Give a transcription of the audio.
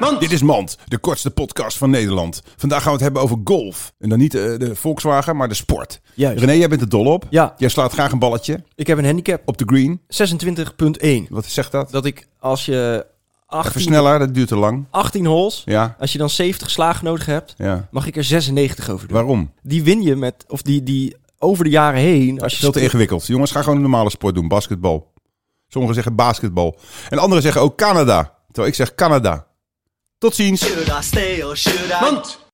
Mand. Dit is Mand, de kortste podcast van Nederland. Vandaag gaan we het hebben over golf. En dan niet eh, de Volkswagen, maar de sport. Juist. René, jij bent er dol op. Ja. Jij slaat graag een balletje Ik heb een handicap op de green. 26.1. Wat zegt dat? Dat ik als je 18, Versneller, dat duurt te lang. 18 holes, Ja, als je dan 70 slagen nodig hebt, ja. mag ik er 96 over doen. Waarom? Die win je met, of die, die over de jaren heen. Als je Veel te ingewikkeld. Jongens, ga gewoon een normale sport doen. Basketbal. Sommigen zeggen basketbal. En anderen zeggen ook Canada. Terwijl ik zeg Canada. Tot ziens. Should I stay or should I?